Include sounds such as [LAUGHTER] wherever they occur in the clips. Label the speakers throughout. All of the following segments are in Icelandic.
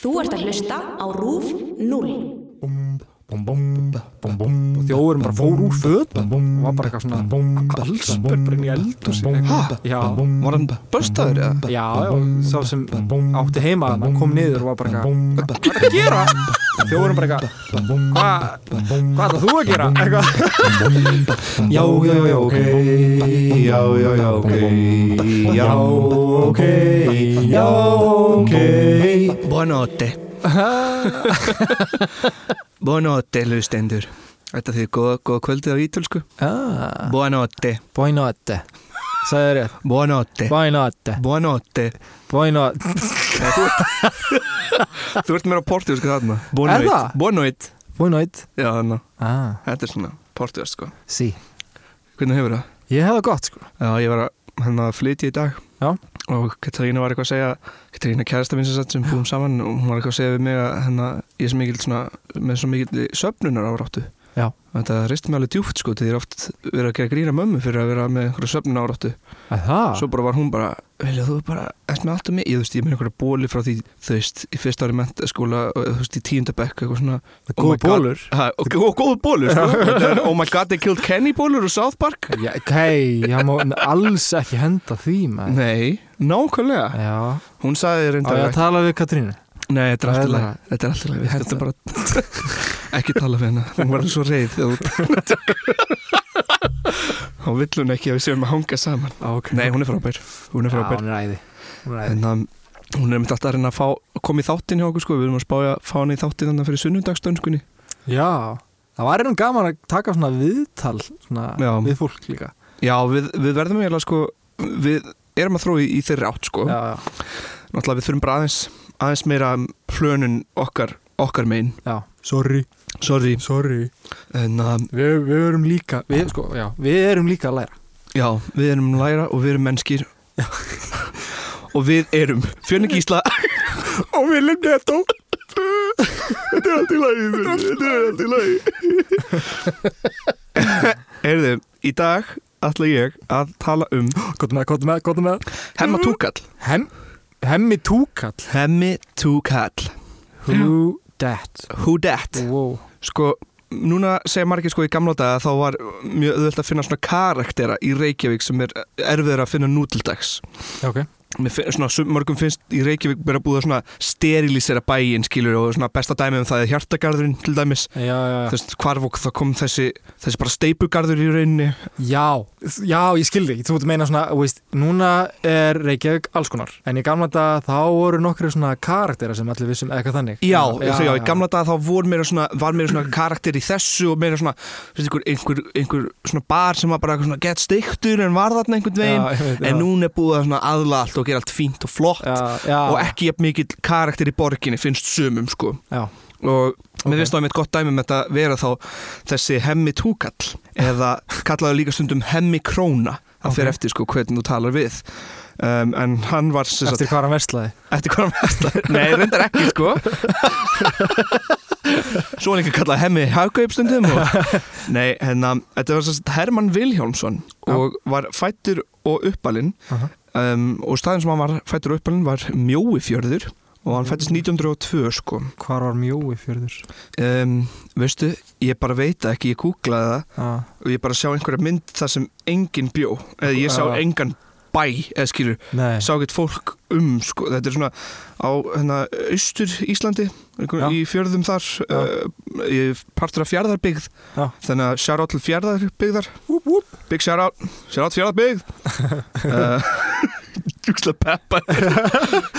Speaker 1: Þú ert að hlusta á RÚF 0.
Speaker 2: og þjóðurinn bara fór úr fötum og var bara eitthvað svona allsber brenn í eldur
Speaker 3: Ha?
Speaker 2: já,
Speaker 3: Var hann börstaður eða?
Speaker 2: já, já, sá sem átti heima hann kom niður og var bara eitthvað hvað er það að gera? þjóðurinn bara eitthvað hvað, hvað ætlað þú að gera? eitthvað
Speaker 3: Já, já, já, ok Já, já, já, ok Já, ok Já, ok Buonanotte [LAUGHS] Buonanotte, hlustendur Þetta þýðir góða, góða kvöldið á ítölsku
Speaker 4: Ah,
Speaker 3: Buonanotte,
Speaker 4: buonanotte Sæðu rétt,
Speaker 3: buonanotte
Speaker 4: buonanotte
Speaker 3: Buonanotte
Speaker 4: Buonanotte
Speaker 3: Þú ert meira portugalsku þarna
Speaker 4: Er það?
Speaker 3: Buonanotte
Speaker 4: Buonanotte
Speaker 3: Já, þannig
Speaker 4: Ah,
Speaker 3: Þetta er svona portugalsk sko.
Speaker 4: sí
Speaker 3: Hvernig hefur það?
Speaker 4: Ég hef það gott sko
Speaker 3: Já, ég var að hérna, flytja í dag
Speaker 4: Já.
Speaker 3: og Katrína var eitthvað að segja Katrína kærasta mín sem sagt sem búum saman og hún var eitthvað að segja við mig að hérna, ég er svo mikill svona, með svo mikill söfnunar áráttu
Speaker 4: Já.
Speaker 3: og þetta rist mig alveg djúft sko því ég er oft verið að gera grína mömmu fyrir að vera með einhverja söfnunar áráttu
Speaker 4: Að það?
Speaker 3: svo bara var hún bara, vilja þú bara erst með allt um mig, ég þú veist, ég er með einhverja bóli frá því þú veist, í fyrsta ári mentaskóla og þú veist, í tíundabekk eitthvað svona
Speaker 4: Svo
Speaker 3: oh my
Speaker 4: góð
Speaker 3: God.
Speaker 4: bólur
Speaker 3: ha, og, og góð bólu, sko [LAUGHS] Þetta er, oh my god, they killed Kenny bólur úr South Park
Speaker 4: Já, Hei, ég má alls ekki henda því maður
Speaker 3: Nei, nákvæmlega
Speaker 4: Já
Speaker 3: Hún sagði
Speaker 4: Á
Speaker 3: reyndar
Speaker 4: ég að tala við Katrínu?
Speaker 3: Nei, þetta
Speaker 4: Það
Speaker 3: er allt
Speaker 4: er
Speaker 3: í lagi
Speaker 4: það.
Speaker 3: Þetta er allt í lagi, við
Speaker 4: Þetta-
Speaker 3: skulum bara [LAUGHS] ekki tala við hennar Hún var svo reið þegar [LAUGHS] Há vill hún ekki að við séum að hanga saman
Speaker 2: Ah,
Speaker 4: Ok
Speaker 3: Nei, hún er frábær Hún er
Speaker 4: Já,
Speaker 3: frábær
Speaker 4: hún er æði Hún er æði
Speaker 3: En um, hún er myndið alltaf að reyna að fá, koma í þáttin hjá okkur sko Við erum að spája að fá hann í þáttin þannig fyrir sko, sunnundagstönskunni
Speaker 4: Já Það var einhvern gaman að taka svona viðtal svona
Speaker 3: Já.
Speaker 4: við fólk líka
Speaker 3: Já, við, við verðum eiginlega sko Við erum að þrói í þeirri átt sko
Speaker 4: Já, já,
Speaker 3: Náttúrulega við þurfum bara aðeins, aðeins meira hlönun okkar, okkar megin
Speaker 4: já Sorry,
Speaker 3: Sorry
Speaker 4: sorry
Speaker 3: En um,
Speaker 4: Við, við erum líka við, sko, já, við erum líka að læra
Speaker 3: Já, við erum að læra og við erum mennskir [LAUGHS] og við erum Fjörni Gísla [LAUGHS] og við erum netto Þetta er allt í lagi Þetta er allt í lagi [LAUGHS] Erðu, í dag ætla ég að tala um
Speaker 4: Góðum með, góðum með, góðum með
Speaker 3: Hemma Túkall
Speaker 4: Hem, Hemmi Túkall
Speaker 3: Hemmi Túkall
Speaker 4: Who that
Speaker 3: Who dat?
Speaker 4: wow.
Speaker 3: Sko, núna segir margir sko í gamla daga þá var mjög auðvöld að finna svona karaktera í Reykjavík sem er erfiður að finna nú til dags
Speaker 4: okay.
Speaker 3: Mér finn, svona, sum- mörgum finnst í Reykjavík bara búið að svona sterilisera bæinn skilur og svona besta dæmi um það er hjartagarðurinn til dæmis
Speaker 4: já, já,
Speaker 3: þú veist hvarfók þá kom þessi þessi bara steipugarður í rauninni
Speaker 4: já, já, já, ég skildi Þú ert að meina svona, þú veist, núna er Reykjavík alls konar En í gamla dag þá voru nokkru svona karaktera sem allir vissum eða eitthvað þannig
Speaker 3: já, já, já, í gamla daga þá vor meira svona, var meira svona karakter í þessu og meira svona þú veist, einhver, einhver, einhver svona bar sem var bara eitthvað svona gett steiktur en var þarna einhvern veginn
Speaker 4: já, já,
Speaker 3: en núna er búið að svona aðla allt og gera allt fínt og flott
Speaker 4: já, já,
Speaker 3: og ekki jafn mikill karakter í borginni finnst sumum sko
Speaker 4: já.
Speaker 3: og
Speaker 4: Ok.
Speaker 3: mér finnst þá einmitt gott dæmi um þetta vera þá þessi hemmi túkall eða kallaðu líka stundum hemmi króna það
Speaker 4: Ok.
Speaker 3: fer eftir sko hvernig þú talar við um, en hann var sem sagt,
Speaker 4: Eftir hvað hann verslaði
Speaker 3: eftir hvað hann veist nei, reyndar ekki sko [LAUGHS] svo er líka kallað hemmi hagaup stundum og, nei, hennar, þetta var sem sagt Hermann Vilhjálmsson
Speaker 4: Já.
Speaker 3: og var fættur og uppalinn
Speaker 4: Aha.
Speaker 3: um, og staðin sem hann var fættur og uppalinn var Mjóifjörður og hann fættist 1902 sko
Speaker 4: Hvar var mjói fjörður
Speaker 3: um, veistu, ég bara veit það ekki, ég googlaði það
Speaker 4: ah.
Speaker 3: og ég bara sjá einhverja mynd þar sem enginn bjó, eða ég sá
Speaker 4: Já.
Speaker 3: engan bæ, eða skilur,
Speaker 4: Nei
Speaker 3: sá ekkert fólk um, sko, þetta er svona á hérna, austur Íslandi einhver-
Speaker 4: Já.
Speaker 3: í fjörðum þar uh, í partur af fjörðarbyggð
Speaker 4: Já.
Speaker 3: þannig að sjára til fjörðarbyggðar
Speaker 4: Wúp, wúp.
Speaker 3: bygg sjára, sjára
Speaker 4: [LAUGHS]
Speaker 3: til fjörðarbyggð uh, Júksla peppa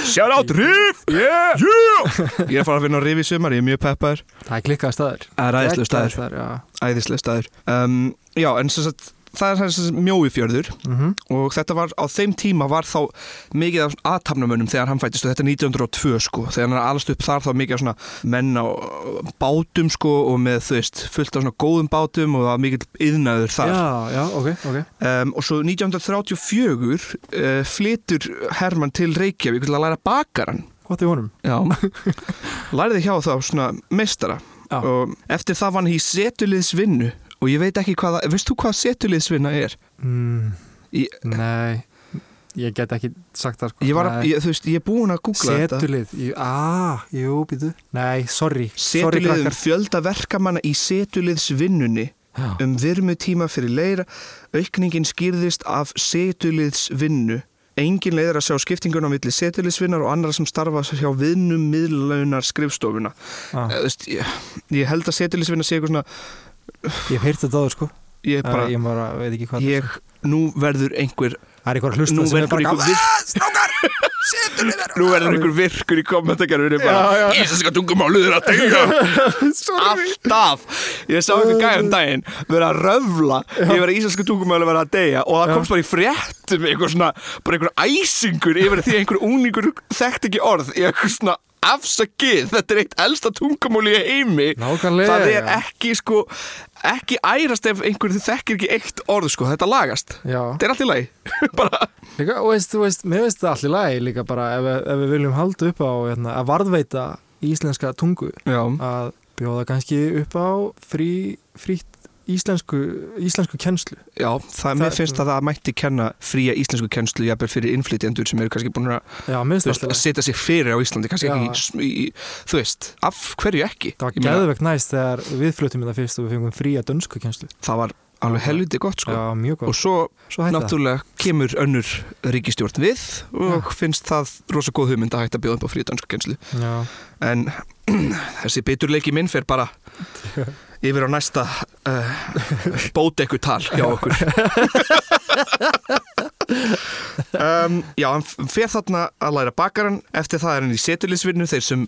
Speaker 3: Sjára til Ríf yeah. yeah. Ég er að fara að vinna á Ríf í sumar, ég er mjög peppaður
Speaker 4: Það er klikkaði staður
Speaker 3: Það er æðislegur staður.
Speaker 4: Geggjaður staður, já
Speaker 3: æðislega staður um, Já, en sem sagt, það er sem sagt mjóifjörður
Speaker 4: Mhm.
Speaker 3: og þetta var á þeim tíma var þá mikið af aðtapnamönnum þegar hann fættist og þetta er 1902 sko, þegar hann er alast upp þar þá mikið af svona menn á bátum sko og með þú veist fullt af svona góðum bátum og það var mikið yðnaður þar
Speaker 4: Já, já, ok, ok
Speaker 3: um, og svo 1934 uh, flytur Hermann til Reykjavík til að læra bakaran
Speaker 4: Hvað er honum?
Speaker 3: [LAUGHS] Já, læriði hjá þá svona meistara
Speaker 4: Já.
Speaker 3: og eftir það vann ég setuliðsvinnu og ég veit ekki hvað það, veist þú hvað setuliðsvinna er?
Speaker 4: Mm,
Speaker 3: Í-
Speaker 4: nei, ég get ekki sagt það sko
Speaker 3: Ég var, að, ég, þú veist, ég er búin að googla þetta
Speaker 4: Setulið, jú, aaa, jú, býtu Nei, sorry, sorry
Speaker 3: Setulið um
Speaker 4: krakkar
Speaker 3: fjölda verkamanna í setuliðsvinnunni
Speaker 4: Já.
Speaker 3: um virmu tíma fyrir leira aukningin skýrðist af setuliðsvinnu engin leiðir að sjá skiptinguna á milli setuliðsvinnar og annara sem starfa hjá vinnum miðlaunar skrifstofuna
Speaker 4: Ah.
Speaker 3: Eh, þú veist, ég, ég held að setuliðsvinna sé eitthvað svona
Speaker 4: Ég hef heyrt þetta áður sko
Speaker 3: ég,
Speaker 4: bara,
Speaker 3: bara,
Speaker 4: Ég bara veit ekki hvað
Speaker 3: ég, nú verður einhver
Speaker 4: Það er eitthvað að hlusta
Speaker 3: nú
Speaker 4: sem er
Speaker 3: verður
Speaker 4: bara Ah,
Speaker 3: einhver
Speaker 4: gaman
Speaker 3: virkur strákar, nú verður einhver virkur í kommentarkerfinu bara, íslenska tungumálið er að deyja
Speaker 4: [LAUGHS]
Speaker 3: [LAUGHS] alltaf ég sá einhver gæri um daginn vera að röfla yfir að íslenska tungumáli vera að deyja og það komst bara í fréttum einhver svona, bara einhver æsingur yfir því að einhver úningur þekkt ekki orð í einhver svona afsakið þetta er eitt elsta tungumáli í heimi
Speaker 4: Nákvæmlega.
Speaker 3: það er ekki sko ekki ærast ef einhver þekkir ekki eitt orð sko, þetta lagast
Speaker 4: Já.
Speaker 3: þetta er allt í lagi [LAUGHS] bara,
Speaker 4: Líka, og veist, þú veist, mér veist það allir lagi líka bara ef, ef við viljum halda upp á hérna, að varðveita íslenska tungu
Speaker 3: já,
Speaker 4: að bjóða kannski upp á frí, frítt íslensku, íslensku kennslu
Speaker 3: já það, mér finnst að það mætti kenna fría íslensku kennslu jafnvel fyrir innflytjendur sem eru kannski búin að
Speaker 4: Já, mér
Speaker 3: þú
Speaker 4: veist
Speaker 3: veist,
Speaker 4: það
Speaker 3: að
Speaker 4: allir lagi
Speaker 3: setja sig fyrir á Íslandi kannski
Speaker 4: Já.
Speaker 3: ekki í, í, þú veist, af hverju ekki
Speaker 4: Það var
Speaker 3: Ég meina,
Speaker 4: geðvegt næst þegar við fluttum þetta fyrst og við fengum fría dönsku kennslu
Speaker 3: það var alveg helviti gott sko.
Speaker 4: Já, mjög
Speaker 3: og
Speaker 4: góð
Speaker 3: svo
Speaker 4: Svo hætti það
Speaker 3: náttúrulega kemur önnur ríkistjórn við og finnst það rosa góð hugmynd að hætta að bjóða upp á fríðdansku kjenslu
Speaker 4: Já,
Speaker 3: en [CLEARS THROAT] þessi biturleiki minn fer bara yfir á næsta uh, bótekku tal hjá okkur um, Já, hann f- fer þarna að læra bakaran eftir það er hann í setulisvinnu þeir sem,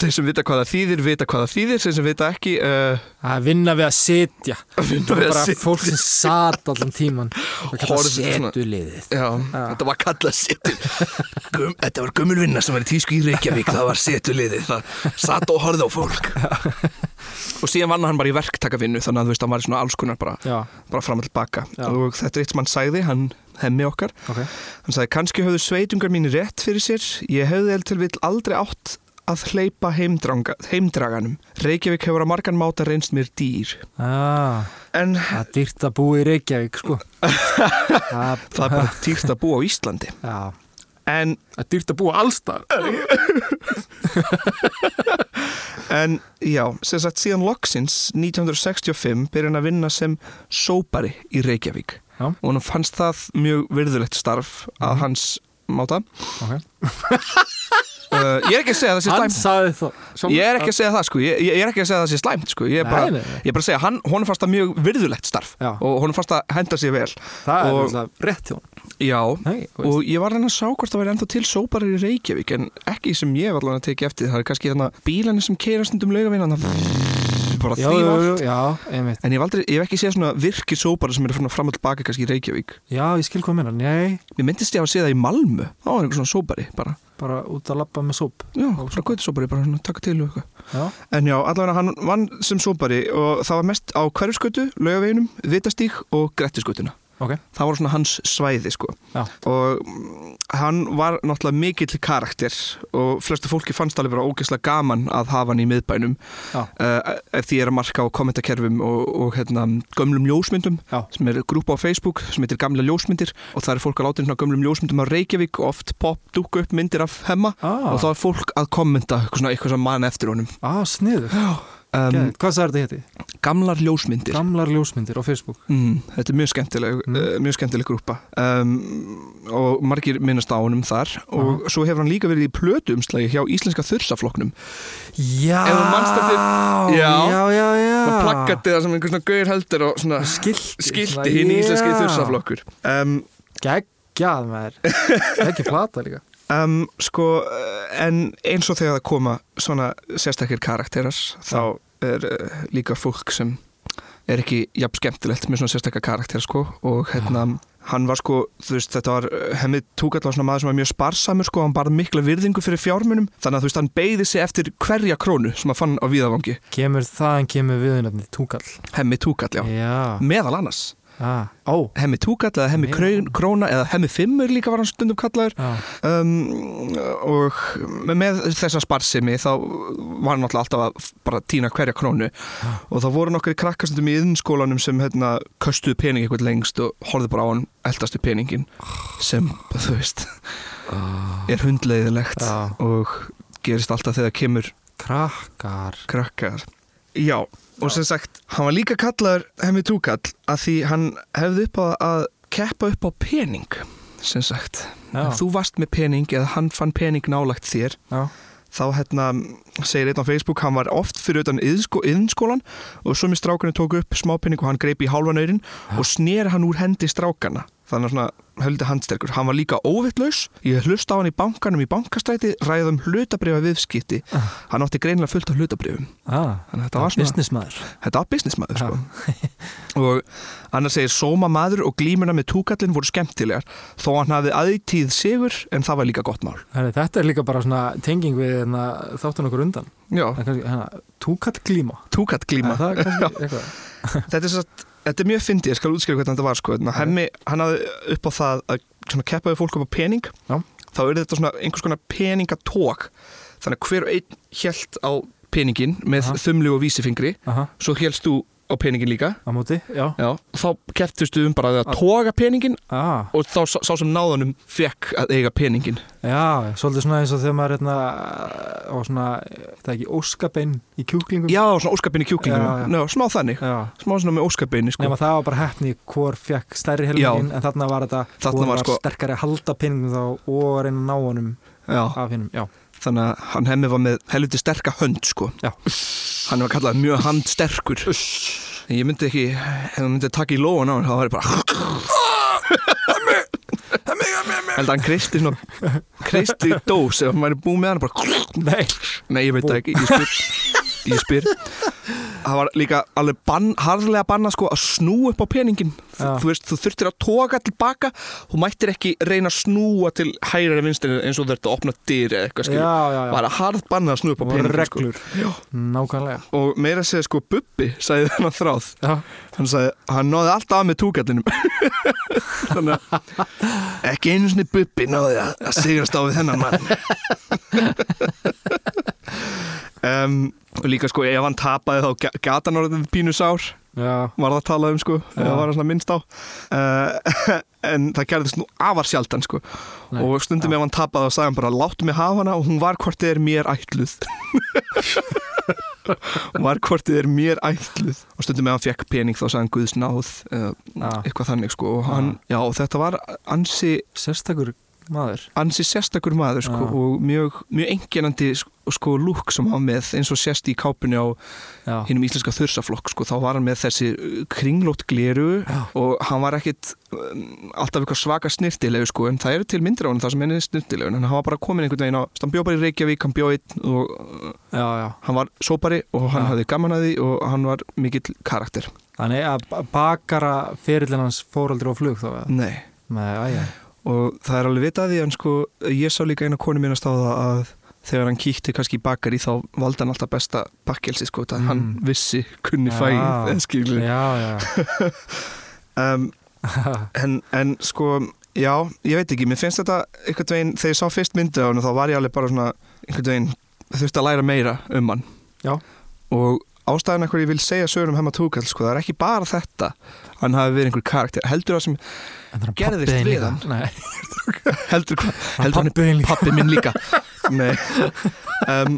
Speaker 3: þeir sem vita hvað það þýðir vita hvað það þýðir, þeir sem vita ekki uh,
Speaker 4: að vinna við að sitja
Speaker 3: vinna við að
Speaker 4: bara
Speaker 3: sit-
Speaker 4: fólk sem sat allan
Speaker 3: [LAUGHS]
Speaker 4: tíman Það kallar
Speaker 3: Horfði svona-
Speaker 4: setuliðið
Speaker 3: Já, þetta var kallað setu [LAUGHS] Gum, Þetta var gömulvinna sem var í tísku í Reykjavík Það var setuliðið, það satt og horfði á fólk Og síðan vann hann bara í verktakavinnu Þannig að þú veist, hann var í svona alls konar bara,
Speaker 4: Já,
Speaker 3: bara fram og tilbaka
Speaker 4: Já.
Speaker 3: Og þetta er eitt sem hann sagði, hann hemmi okkar
Speaker 4: ok
Speaker 3: Hann sagði, kannski höfðu sveitungar mínu rétt fyrir sér Ég hefði eld til vill aldrei átt að hleypa heimdraga, heimdraganum Reykjavík hefur á margan máta reynst mér dýr
Speaker 4: ah,
Speaker 3: En
Speaker 4: Það er dýrt að búa í Reykjavík sko Það
Speaker 3: [LAUGHS] það er
Speaker 4: [LAUGHS]
Speaker 3: bara dýrt að búa á Íslandi
Speaker 4: Já
Speaker 3: En
Speaker 4: Það er dýrt að búa allstar
Speaker 3: En já, sem sagt síðan loksins 1965 byrja hann að vinna sem sópari í Reykjavík
Speaker 4: Já. Mhm.
Speaker 3: og hann fannst það mjög virðulegt starf að hans máta
Speaker 4: Ok.
Speaker 3: uh, Ég er ekki að segja að það sé
Speaker 4: Hann
Speaker 3: slæmt
Speaker 4: sagði það
Speaker 3: Ég er ekki að segja það sko, ég, ég ég er ekki að segja að það sé slæmt sko Ég er
Speaker 4: Nei,
Speaker 3: bara,
Speaker 4: nei, nei.
Speaker 3: ég er bara að segja, hann, honum fannst það mjög virðulegt starf
Speaker 4: Já.
Speaker 3: og honum fannst það henda sér vel
Speaker 4: Það er
Speaker 3: Og-
Speaker 4: alltaf rétt hjá hann
Speaker 3: Já,
Speaker 4: Nei, þú veist.
Speaker 3: og ég var hann að sá hvort það væri ennþá til sóparir í Reykjavík en ekki sem ég var allan að teki eftir það er kannski þannig að bílarnir sem keira stundum laugavinn bara
Speaker 4: Já, já,
Speaker 3: þrývar
Speaker 4: já, já, einmitt
Speaker 3: En ég hef, aldrei, ég hef ekki séð svona virkir sóparar sem eru frá fram og tilbaka kannski í Reykjavík.
Speaker 4: Já, ég skil hvað minna Nei,
Speaker 3: Mér myndist ég að séð það í Malmö. Þá var einhver svona sópari bara.
Speaker 4: bara út að labba með sóp
Speaker 3: Já, svona gautisópari bara svona taka til og eitthvað.
Speaker 4: Já,
Speaker 3: En já, allavega hann vann sem sópari og það var mest á hverfskötu, laugaveginum, vitastík og grettiskötuna.
Speaker 4: ok
Speaker 3: Það voru svona hans svæði sko.
Speaker 4: Já,
Speaker 3: Og mm, hann var náttúrulega mikill karakter og flestu fólki fannst alveg bara ógeðslega gaman að hafa hann í miðbænum.
Speaker 4: já,
Speaker 3: uh, ef því er að marka á kommentarkerfum og, og hérna, gömlum ljósmyndum
Speaker 4: Já.
Speaker 3: sem er grúpa á Facebook sem heitir Gamla ljósmyndir og það er fólk að láta inn á gömlum ljósmyndum á Reykjavík og oft pop dúka upp myndir af hemma
Speaker 4: Ah.
Speaker 3: og þá er fólk að kommenta eitthvað, svona, eitthvað sem mann eftir honum
Speaker 4: ah, sniður
Speaker 3: um,
Speaker 4: Geðveikt. Hvað sagði þetta hétti?
Speaker 3: Gamlar ljósmyndir
Speaker 4: Gamlar ljósmyndir á Facebook
Speaker 3: Mm, þetta er mjög skemmtileg,
Speaker 4: Mm.
Speaker 3: mm. mjög skemmtileg grúpa um, og margir minnast á honum þar og svo hefur hann líka verið í plötuumslagi hjá Íslenska þursaflokknum
Speaker 4: Já,
Speaker 3: Ef þú manst eftir-
Speaker 4: já,
Speaker 3: Já.
Speaker 4: já, já
Speaker 3: og plakkatið það sem einhvern svona gauðir heldur og svona
Speaker 4: Skilti
Speaker 3: skilti hinn í íslenski þursaflokkur um,
Speaker 4: Gægjað
Speaker 3: [LAUGHS]
Speaker 4: maður Ekki plata líka
Speaker 3: um, sko, eh, en eins og þegar það koma svona sérstakir karakterar þá er uh, líka fólk sem er ekki jafn skemmtilegt með svona sérstakka karakter sko og hérna hann var sko, þú veist, þetta var eh, hemmið túkall var svona maður sem var mjög sparsamur sko hann bara mikla virðingu fyrir fjármunum þannig að þú veist, hann beigði sig eftir hverja krónu sem hann fann á viðavangi,
Speaker 4: Kemur þaðan kemur viðunafni Túkall
Speaker 3: hemmið túkall já,
Speaker 4: Já,
Speaker 3: meðal annars
Speaker 4: ah, Ó,
Speaker 3: Hemmi Túkall eða Hemmi
Speaker 4: Já.
Speaker 3: Krön- Króna eða Hemmi Fimmur líka var hann stundum kallaður
Speaker 4: já,
Speaker 3: um, og með þessa sparsimi þá var hann alltaf að bara týna hverja krónu og þá voru nokkri krakkastundum í yðnskólanum sem hérna köstuðu pening eitthvað lengst og horfðu bara á hann eldastu peningin sem, þú veist er hundleiðilegt
Speaker 4: Já.
Speaker 3: og gerist alltaf þegar kemur
Speaker 4: krakkar
Speaker 3: krakkar Já, og sem sagt, hann var líka kallaður hemmi túkall að því hann hefði upp á að keppa upp á pening sem sagt
Speaker 4: Já,
Speaker 3: Ef þú varst með pening eða hann fann pening nálagt þér
Speaker 4: já,
Speaker 3: þá hérna segir einn á Facebook hann var oft fyrir utan yðnskó, yðnskólan og svo með strákanu tók upp smápening og hann greip í hálfanöyrin og snér hann úr hendi strákana þannig að svona höldi handsterkur hann var líka óvittlaus, ég hlusta á hann í bankanum í bankastræti, ræðum hlutabrifa viðskipti, hann átti greinilega fullt af hlutabrifum
Speaker 4: ah,
Speaker 3: þannig að þetta var svona
Speaker 4: business maður
Speaker 3: þetta var businessmaður sko. og annar segir sóma maður og glímuna með túkallin voru skemmtilegar þó hann hafði aðtíð sigur en það var líka gott mál
Speaker 4: Herri, Þetta er líka bara svona tenging við hérna, þáttun okkur undan
Speaker 3: Já,
Speaker 4: Það er kannski, hérna, Túkall glíma
Speaker 3: túkall glíma
Speaker 4: [LAUGHS] Það er kannski eitthvað
Speaker 3: þetta, er satt, þetta er mjög fyndið, ég skal útskýra hvernig þetta var sko. Ná, hemmi, hann hafði upp á það að svona, keppa við fólk upp á pening
Speaker 4: Já.
Speaker 3: þá er þetta svona einhvers konar peningatók þannig að hver og einn hjælt á peningin með
Speaker 4: Aha.
Speaker 3: þumlu og vísifingri
Speaker 4: Aha,
Speaker 3: svo hjælst þú á peningin líka
Speaker 4: á móti, já
Speaker 3: Já. þá kepptustu um bara að toga peningin
Speaker 4: ah,
Speaker 3: og þá sá, sá sem náðanum fekk að eiga peningin
Speaker 4: Já, svolítið svona eins og þegar maður hérna, á svona, það er ekki óskabein í kjúklingum
Speaker 3: já, svona óskapinni
Speaker 4: Já, já.
Speaker 3: kjúklingum, já, smá þannig
Speaker 4: já.
Speaker 3: smá svona með óskapinni sko.
Speaker 4: Nefna það var bara heppni hvor fekk stærri helmingin en þarna var þetta
Speaker 3: Þarna
Speaker 4: hvor
Speaker 3: var
Speaker 4: var
Speaker 3: sko-
Speaker 4: sterkari að halda pinningum þá og að reyna að ná honum
Speaker 3: já,
Speaker 4: af hinnum Já,
Speaker 3: þannig að hann hemmi var með helviti sterka hönd sko. [LAUGHS]
Speaker 4: Já.
Speaker 3: hann var kallað mjög handsterkur En ég myndi ekki, ef hann myndi taka í lóan á hann þá var ég bara hemmi, hemmi, hemmi held að hann kristi svona kristi dós ef hann væri búið með hann bara
Speaker 4: nei
Speaker 3: Nei, ég veit það ekki, ég spyr Ég spyr Það var líka alveg bann, harðlega banna sko að snú upp á peningin
Speaker 4: Já.
Speaker 3: þú, þú veist, þú þurftir að toga tilbaka Þú mættir ekki reyna að snúa til hægri eða vinstri eins og þú þurft að opna dyr eða eitthvað
Speaker 4: Já,
Speaker 3: skilur
Speaker 4: já, já,
Speaker 3: Bara harð banna að snú upp á
Speaker 4: Það voru
Speaker 3: peningin sko.
Speaker 4: reglur Nákvæmlega
Speaker 3: Og meira að segja sko Bubbi sagði þennan þráð
Speaker 4: Já,
Speaker 3: Hann sagði, hann náði alltaf af með túkallinum [LAUGHS] Þannig að ekki einu sinni Bubbi náði að, að sigrast á við þennan mann um, Og líka sko, ef hann tapaði þá ga- gat hann orðið pínu sár
Speaker 4: já,
Speaker 3: var það að tala um sko,
Speaker 4: Já.
Speaker 3: það var hann svona minnst á uh, [LAUGHS] en það gerðist nú afar sjaldan sko
Speaker 4: Nei.
Speaker 3: og stundum ef hann tapaði og sagði hann bara láttu mig hafa hana og hún var hvort þið er mér ætluð [LAUGHS] hún var hvort þið er mér ætluð og stundum ef hann fekk pening þá sagði hann Guðs náð uh,
Speaker 4: Já.
Speaker 3: eitthvað þannig sko og hann, já og þetta var ansi,
Speaker 4: sérstakur maður
Speaker 3: ansi sérstakur maður sko
Speaker 4: Já.
Speaker 3: og mjög, mjög enginandi sko, sko lúk sem hann var með eins og sérst í kápunni á
Speaker 4: Já,
Speaker 3: hinnum íslenska þursaflokk sko, þá var hann með þessi uh, kringlótt gleru
Speaker 4: Já.
Speaker 3: og hann var ekkit um, alltaf eitthvað svaka snirtilegu sko, en það eru til myndir á hann það sem henni er snirtilegu en hann var bara komin einhvern veginn á, hann bjó bara í Reykjavík hann bjó einn og uh,
Speaker 4: já, já
Speaker 3: hann var sópari og hann
Speaker 4: Já.
Speaker 3: hafði gaman að því og hann var mikill karakter
Speaker 4: Þannig að ba- bakara fyrirlin hans fór aldrei á flug þá eða?
Speaker 3: Nei.
Speaker 4: Nei, æja
Speaker 3: og það er alveg vitað því en sko, ég sá líka eina konu mín að stáða að þegar hann kíkti kannski í bakari þá valdi hann alltaf besta bakkelsi sko, mm. hann
Speaker 4: Mm.
Speaker 3: vissi kunni
Speaker 4: Já.
Speaker 3: [LAUGHS] fæ, skilur
Speaker 4: Já, já,
Speaker 3: [LAUGHS] um, en, en sko, já, ég veit ekki mér finnst þetta einhvern veginn, þegar ég sá fyrst myndið á hann þá var ég alveg bara svona einhvern veginn, þurfti að læra meira um hann
Speaker 4: Já.
Speaker 3: og ástæðan af hverju ég vil segja sögur um hemma túkall sko, það er ekki bara þetta hann hafi verið einhver karakter, heldur það sem
Speaker 4: En það er
Speaker 3: Gerðist
Speaker 4: pabbiðin
Speaker 3: við
Speaker 4: líka.
Speaker 3: hann?
Speaker 4: Nei,
Speaker 3: heldur, hva, heldur hann er
Speaker 4: pabbiðin líka
Speaker 3: pappi minn líka Nei um,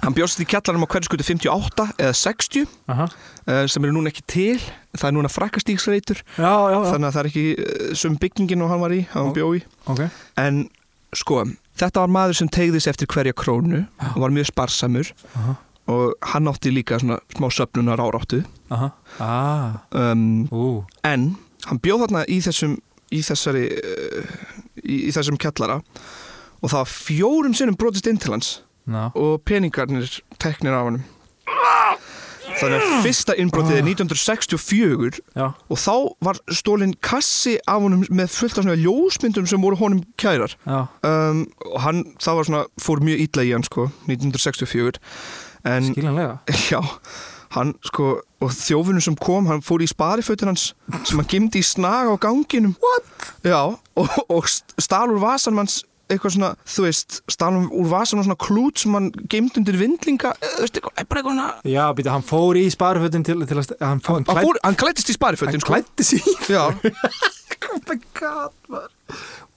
Speaker 3: Hann bjóst í kjallarum á hverju skutu 58 eða 60
Speaker 4: Aha.
Speaker 3: uh, sem eru núna ekki til það er núna frakkastíksreitur
Speaker 4: Já, já, já
Speaker 3: þannig að það er ekki uh, sum byggingin og hann var í, hann
Speaker 4: Ó.
Speaker 3: bjó í
Speaker 4: Ok,
Speaker 3: En sko, þetta var maður sem tegðis eftir hverja krónu
Speaker 4: Já.
Speaker 3: og var mjög sparsamur
Speaker 4: aha,
Speaker 3: og hann átti líka svona smá söfnunar áráttu
Speaker 4: aha Ah,
Speaker 3: um,
Speaker 4: ú,
Speaker 3: en hann bjóð þarna í þessum í þessari uh, í, í þessum kjallara og það var fjórum sinnum brotist inn til hans
Speaker 4: ná
Speaker 3: og peningarnir teknir af hann þannig að fyrsta innbrotið
Speaker 4: Ah.
Speaker 3: er 1964
Speaker 4: Já,
Speaker 3: og þá var stólinn kassi af honum með fullt af svona ljósmyndum sem voru honum kærar
Speaker 4: já,
Speaker 3: um, og hann, það var svona, fór mjög illa í hann sko, 1964 en, [LAUGHS]
Speaker 4: skiljanlega
Speaker 3: já, hann sko og þjófunum sem kom, hann fór í sparifötin hans sem hann gemdi í snaga á ganginum What? Já, og, og stál úr vasan manns eitthvað svona, þú veist, stál úr vasan og svona klút sem hann gemdi undir vindlinga eh, þú veist, eitthvað, bara eitthvað svona
Speaker 4: Já, býta, hann fór í sparfötin til, til að hann, fór, hann,
Speaker 3: Hann,
Speaker 4: klædd-
Speaker 3: fór, hann klættist í sparifötin,
Speaker 4: hann
Speaker 3: sko
Speaker 4: klætti sig í-
Speaker 3: Já,
Speaker 4: [LAUGHS] Oh my god, man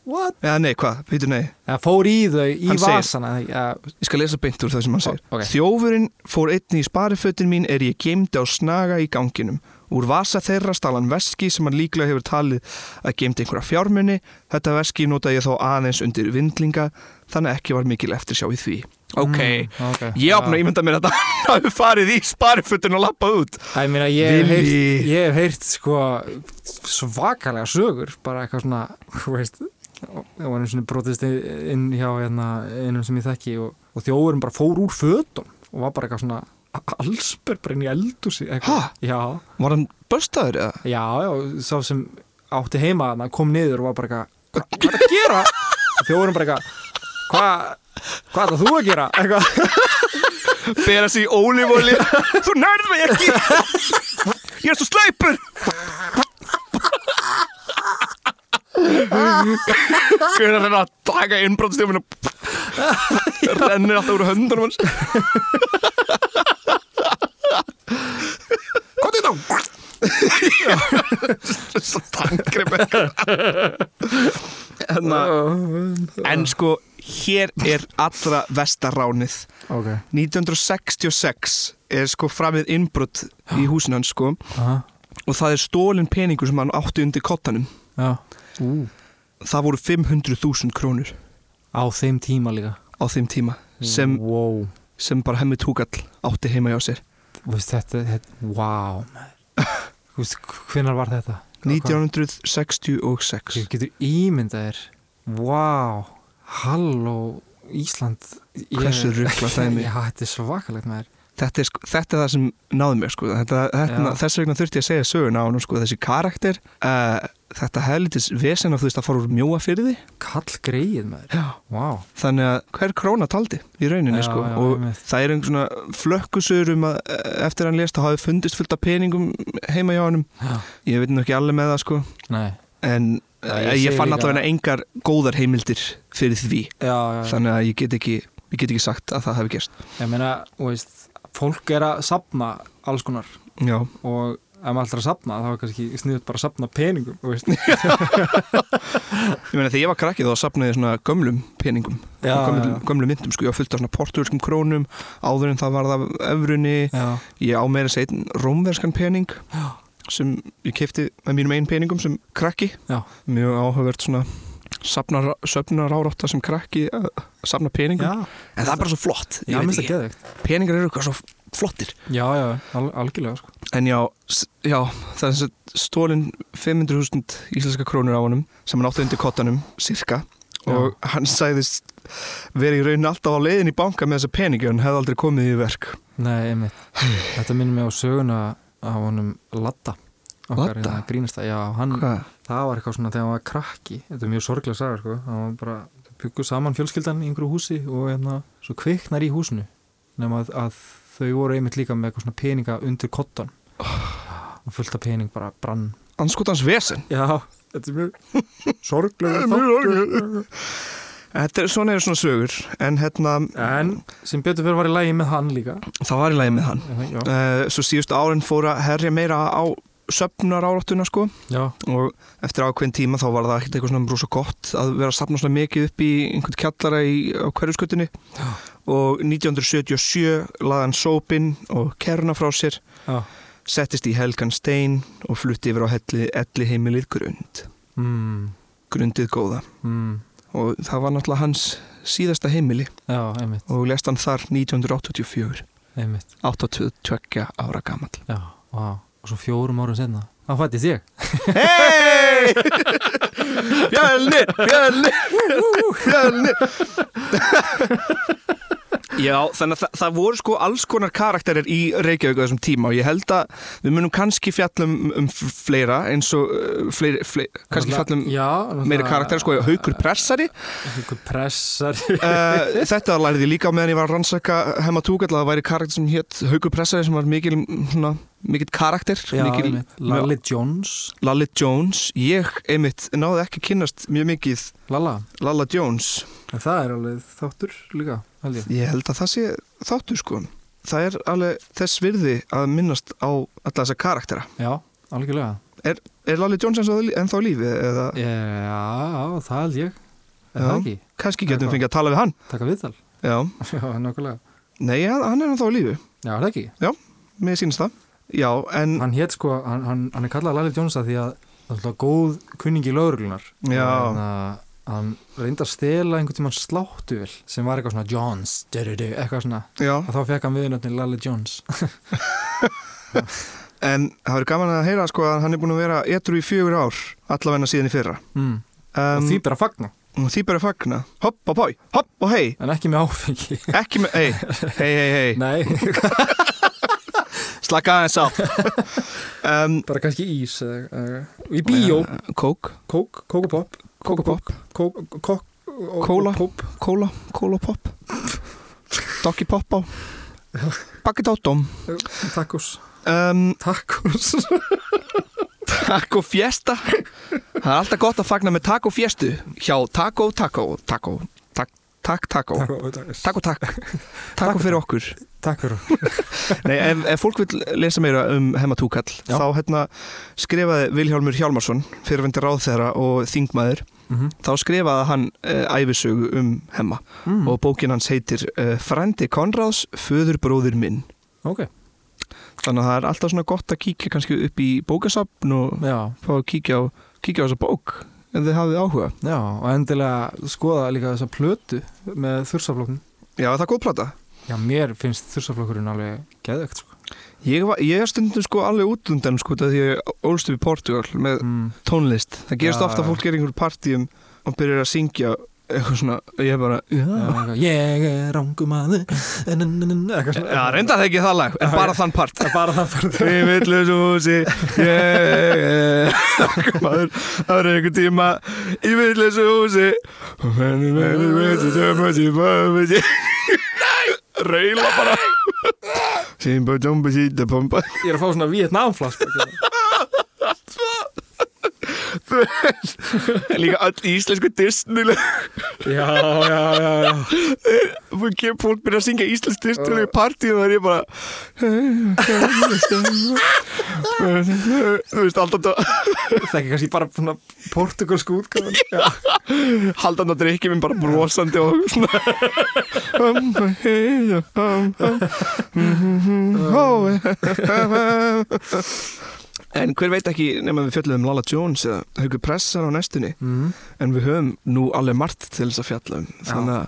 Speaker 4: What?
Speaker 3: eða nei, hvað, heitir nei
Speaker 4: Hann fór í þau, í
Speaker 3: Hann segir-
Speaker 4: vasana ja,
Speaker 3: Ég skal lesa beint úr það sem hann segir.
Speaker 4: Ó, ok.
Speaker 3: Þjófurinn fór einni í sparifötin mín er ég gemdi á snaga í ganginum. Úr vasa þeirra stalan veski sem hann líklega hefur talið að gemdi einhverja fjármunni. Þetta veski nota ég þá aðeins undir vindlinga, þannig að ekki var mikil eftir sjá í því. Ok,
Speaker 4: Mm, ok.
Speaker 3: ég opna að ímynda mér að [LAUGHS] það hafi farið í sparifötin og lappað út.
Speaker 4: Æ, meina, ég hef heyrt,
Speaker 3: Vilji.
Speaker 4: ég hef heyrt sko, svakalega sögur bara eitthvað svona þú veist, það var einu svona brotist inn- inn hjá hérna, einum sem ég þekki og, og þjóðurinn bara fór úr fötum og var bara eitthvað svona allsber bara inn í eldúsi
Speaker 3: Ha?
Speaker 4: já,
Speaker 3: Var hann börstaður eða?
Speaker 4: já, já, sá sem átti heima hann kom niður og var bara eitthvað "Hva- hvað er að gera? Og þjóðurinn bara eitthvað hvað hva ætlað þú að gera?
Speaker 3: [LAUGHS]
Speaker 4: eitthvað
Speaker 3: Bera sig í ólífóli. Þú nærð mig ekki. Ég er svo sleipur. Hvernig er þetta að taka innbrotstjófinu? Rennir alltaf úr höndunum hans. Hvað er þetta? Svo tangrið með hérna. En sko, hér er allra vestaránið.
Speaker 4: ok,
Speaker 3: 1966 er sko framið innbrott í húsinu hans sko
Speaker 4: aha,
Speaker 3: og það er stólin peningur sem hann átti undir kottanum.
Speaker 4: já
Speaker 3: Það voru 500.000 krónur
Speaker 4: á þeim tíma líka
Speaker 3: á þeim tíma sem,
Speaker 4: wow
Speaker 3: sem bara hemmið túkall átti heima hjá sér.
Speaker 4: Þú veist, þetta, þetta, wow maður. Þú veist, hvenær var þetta?
Speaker 3: 1966.
Speaker 4: Þú getur ímyndað þér wow, halló Ísland ég-
Speaker 3: Hversu ruglað
Speaker 4: [LAUGHS]
Speaker 3: dæmi.
Speaker 4: Já, þetta er svakalegt maður
Speaker 3: Þetta er, sko, þetta er það sem náði mér sko. þetta, þetta,
Speaker 4: Já.
Speaker 3: þess vegna þurfti ég að segja söguna á hann sko. þessi karakter uh, þetta hellitis vesen af þú veist að fara úr mjóa fyrir því
Speaker 4: kall greið maður,
Speaker 3: Já.
Speaker 4: wow
Speaker 3: þannig að hver króna taldi í rauninni
Speaker 4: Já,
Speaker 3: sko
Speaker 4: já,
Speaker 3: og
Speaker 4: einmitt.
Speaker 3: það er einhvern svona flökkusur um að eh, eftir að hann lést að hafi fundist fullt af peningum heima hjá honum
Speaker 4: Já.
Speaker 3: ég veit nú ekki alveg með það sko
Speaker 4: Nei,
Speaker 3: en
Speaker 4: Já,
Speaker 3: eh,
Speaker 4: ég
Speaker 3: ég,
Speaker 4: sé
Speaker 3: fann
Speaker 4: líka-
Speaker 3: allavega engar góðar heimildir fyrir því
Speaker 4: já, já, já
Speaker 3: þannig að ég get ekki ég get ekki sagt að það hefði gerst
Speaker 4: Ég meina, þú veist, fólk er að sapna alls konar
Speaker 3: já,
Speaker 4: og ef maður ætlar að sapna þá er kannski sniðut bara að sapna peningum, þú veist
Speaker 3: ég meina þegar ég var krakkið þá sapnaði ég svona gömlum peningum
Speaker 4: Já,
Speaker 3: og gömlum,
Speaker 4: já, já.
Speaker 3: gömlum myndum sko, ég var fullt af svona portugalskum krónum áður en það var það öfrunni
Speaker 4: Já,
Speaker 3: Ég á meira að segja einn rómverskan pening
Speaker 4: Já.
Speaker 3: sem ég kefti með mínum einn peningum sem krakki.
Speaker 4: Já.
Speaker 3: Mjög áhugavert svona safnar, söfnar árátta sem krakki að safna peningum.
Speaker 4: já,
Speaker 3: En það er bara svo flott.
Speaker 4: já,
Speaker 3: Ég veit
Speaker 4: minnst það
Speaker 3: ekki.
Speaker 4: geðveikt
Speaker 3: Peningar eru eitthvað svo flottir.
Speaker 4: Já, já, al algjörlega, sko
Speaker 3: En já, s- já það er sem stólinn 500.000 íslenska krónur á honum sem hann átti undir kottanum, cirka. Og hann sagðist verið í raunin alltaf á leiðin í banka með þessa peningi en hefði aldrei komið í verk.
Speaker 4: Nei, einmitt. Þetta minnir mig á söguna af honum Latta. Okkar,
Speaker 3: Ladda?
Speaker 4: Latta? Grínasta, já, hann,
Speaker 3: Hvað?
Speaker 4: það var eitthvað svona þegar hann var krakki. Þetta er mjög sorglega sagar, sko. Hann var bara, bygguð saman fjölskyldan í einhverju húsi og hérna, svo kviknar í húsinu. Nefn að, að þau voru einmitt líka með eitthvað svona peninga undir kottan. Og fullt af pening bara brann.
Speaker 3: Anskotans vesen.
Speaker 4: Já, þetta er [LAUGHS] mjög sorglega
Speaker 3: Mjög sorglegur. Þetta er svona eru svona sögur en hérna,
Speaker 4: En sem betur fyrir var í lægi með hann líka.
Speaker 3: það var í lagi með hann
Speaker 4: Já,
Speaker 3: uh, svo síðustu árin fór að herja meira á söfnar áráttuna sko
Speaker 4: já,
Speaker 3: og eftir ákveðin tíma þá var það ekkert eitthvað svona rosa gott að vera að safna svona mikið upp í einhvern kjallara í, á hverjuskutinni og 1977 laði hann sópin og kerna frá sér
Speaker 4: já.
Speaker 3: settist í helgan stein og flutti yfir á helli, elli heimilið grund
Speaker 4: Mm,
Speaker 3: grundið góða
Speaker 4: mm,
Speaker 3: og það var náttúrulega hans síðasta heimili
Speaker 4: já, einmitt,
Speaker 3: og lest hann þar 1984
Speaker 4: einmitt.
Speaker 3: 82 ára gamall
Speaker 4: Já, vá. og svo fjórum árum senna þá fættist ég
Speaker 3: Hei! Fjölnir, fjölnir, fjölnir Já, þannig að það, það voru sko alls konar karakterir í Reykjavík á þessum tíma og ég held að við munum kannski fjallum um f- fleira eins og uh, fleiri, fleiri, kannski fjallum
Speaker 4: já,
Speaker 3: meiri karakterir sko, haukur pressari
Speaker 4: haukur pressar
Speaker 3: uh, Þetta lærði ég líka á meðan ég var að rannsaka hemmar túkall að það væri karakter sem hétt haukur pressari sem var mikil mm, svona mikill karakter
Speaker 4: Já,
Speaker 3: mikill,
Speaker 4: einmitt. Lalli Jones
Speaker 3: Lalli Jones ég einmitt náði ekki að kynnast mjög mikið
Speaker 4: Lalla,
Speaker 3: Lalla Jones
Speaker 4: en það er alveg þáttur líka held ég.
Speaker 3: ég held að það sé þáttur sko það er alveg þess virði að minnast á alla þessa karaktera
Speaker 4: Já, algjörlega
Speaker 3: er Lalli Jones eins og ennþá á lífi eða
Speaker 4: Já, það held ég Er
Speaker 3: Já.
Speaker 4: það ekki?
Speaker 3: kannski
Speaker 4: Eða
Speaker 3: getum
Speaker 4: hvað?
Speaker 3: fengið að tala við hann
Speaker 4: Taka viðtal
Speaker 3: já,
Speaker 4: [LAUGHS] Já, nákvæmlega
Speaker 3: nei, hann- hann er ennþá á lífi
Speaker 4: Já, er það ekki?
Speaker 3: mér sínst það já, en
Speaker 4: Hann hétt sko, hann, hann, hann er kallað Lalli Jones að því að það er alltaf góð kunningi lögurlunar
Speaker 3: Já.
Speaker 4: Hérna, Hann reyndi að stela einhvern tímann sláttuvel sem var eitthvað svona Jones, du-du-du, eitthvað svona
Speaker 3: já,
Speaker 4: og þá fekk hann viðnöfnin Lalli [LAUGHS] Jones
Speaker 3: en það verður gaman að heyra sko að hann er búin að vera etru í fjögur ár allavegna síðan í fyrra
Speaker 4: mm. og
Speaker 3: um,
Speaker 4: því bara fagna,
Speaker 3: og því bara að fagna hopp og bói, hopp og hei
Speaker 4: en ekki með [LAUGHS] áfengi
Speaker 3: ekki með, hei, hei, hei, hei
Speaker 4: Nei,
Speaker 3: slaka aðeins [LAUGHS] á um,
Speaker 4: bara kannski ís eða- eða- Í bíó,
Speaker 3: kók,
Speaker 4: kók, kókupopp Kókupopp Kók, kók
Speaker 3: Kóla.
Speaker 4: Kóp
Speaker 3: kóla, kóla og popp dokki popp á bakið átum
Speaker 4: Tacos
Speaker 3: um,
Speaker 4: [LAUGHS] Tacos
Speaker 3: Taco Fiesta Það er alltaf gott að fagna með Taco Fiestu Hjá Taco Taco Taco Takk tak, Taco Taco [LAUGHS] Takk Taco fyrir okkur
Speaker 4: Takk fyrir
Speaker 3: Nei, ef, ef fólk vil lesa meira um Hemma Túkall
Speaker 4: Já.
Speaker 3: þá hérna skrifaði Vilhjálmur Hjálmarsson fyrirvendir ráðþeirra og þingmaður
Speaker 4: Mhm.
Speaker 3: þá skrifaði hann uh, æfisögu um Hemma
Speaker 4: mm.
Speaker 3: og bókin hans heitir uh, Frendi Konráðs, föðurbróðir minn
Speaker 4: Ok,
Speaker 3: þannig að það er alltaf svona gott að kíkja kannski upp í bókasafn og
Speaker 4: já,
Speaker 3: fá að kíkja á, kíkja á þessa bók ef þið hafið áhuga
Speaker 4: já og endilega skoða líka þessa plötu með þursaflokkun
Speaker 3: Já, er það er góð plata.
Speaker 4: Já, mér finnst þursaflokkurinn alveg geðvegt sko.
Speaker 3: Ég, var, ég er stundum sko alveg út undan sko þegar ég ólst upp í Portugal með
Speaker 4: mm.
Speaker 3: tónlist. Það gerist
Speaker 4: Já.
Speaker 3: ofta að fólk er í einhverjum partíum og byrjar að syngja eitthvað svona, ég er bara,
Speaker 4: Mm. já,
Speaker 3: já.
Speaker 4: eitthvað, Ég er rangum aðu [LAUGHS] Eitthvað
Speaker 3: Já, reynda það ekki það lag, en bara þann part.
Speaker 4: Það er bara það fyrir
Speaker 3: Í villusum húsi, ég, maður, það er einhver tíma, í villusum húsi, og henni verður veitur, það er mjög mjög Reila bara. Simba, dumba, síta, bomba.
Speaker 4: Ég er að fá svona [LAUGHS] vietnamflask
Speaker 3: Líka all íslensku Disney-lög.
Speaker 4: Já, já, já, já
Speaker 3: Þú kemur fólk byrja að syngja íslensk distilegu partíð og það er ég bara Þú veist, haldandi
Speaker 4: Það er kannski bara svona portugalsku útgáðan
Speaker 3: haldandi að drikki minn bara brosandi og svona En hver veit ekki nema við fjöllum um Lala Jones eða Haukur Pressar á næstunni
Speaker 4: mm.
Speaker 3: en við höfum nú alveg margt til þess að fjalla um þannig að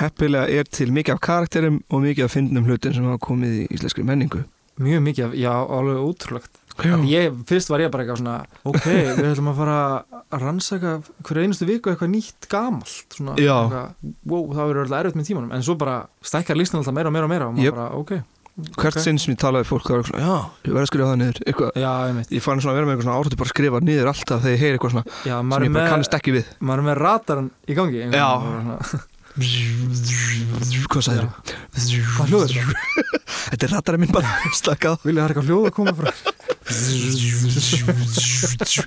Speaker 3: heppilega er til mikið af karakterum og mikið af fyndnum hlutum sem hafa komið í íslenskri menningu
Speaker 4: Mjög mikið, af- já, alveg ótrúlegt
Speaker 3: Já,
Speaker 4: Að ég, fyrst var ég bara eitthvað svona [LAUGHS] ok, við ætlum að fara að rannsaka hverju einustu viku eitthvað nýtt gamalt svona,
Speaker 3: Já.
Speaker 4: eitthvað, wow, það verður alltaf erfitt með tímanum en svo bara stækkar listan alltaf meira og meira og meira og maður
Speaker 3: Jöp.
Speaker 4: bara, ok,
Speaker 3: hvert
Speaker 4: ok.
Speaker 3: sinn sem ég talaði við fólk það var svona, já, ég verði að skrifa það niður eitthvað,
Speaker 4: já, einmitt
Speaker 3: ég fann svona að vera með eitthvað svona áratu bara að skrifa niður alltaf þegar ég heyri eitthvað svona
Speaker 4: já,
Speaker 3: sem
Speaker 4: maður, er
Speaker 3: ég bara kannast
Speaker 4: með,
Speaker 3: ekki við
Speaker 4: maður er með rataran í gangi einhvern
Speaker 3: Já.
Speaker 4: veginn, bara svona,
Speaker 3: Hvað sagðir?
Speaker 4: hvað hljóður það?
Speaker 3: Þetta er rattari minn bara [LAUGHS] slakað
Speaker 4: Vilja það er eitthvað hljóð að koma frá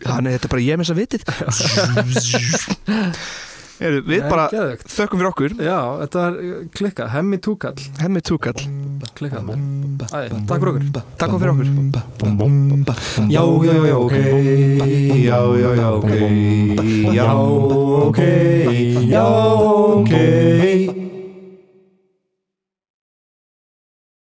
Speaker 3: Þannig þetta er bara ég með þess að vitið [LAUGHS] Heyrðu, Við bara
Speaker 4: Geðveikt.
Speaker 3: þökkum fyrir okkur
Speaker 4: já, þetta er eh, klikkað, hemmi túkall
Speaker 3: Hemmi Túkall
Speaker 4: klikkað mér, Æ, takk fyrir okkur
Speaker 3: Takk fyrir okkur
Speaker 4: já, já, já, ok já, já, já, ok já, ok já, ok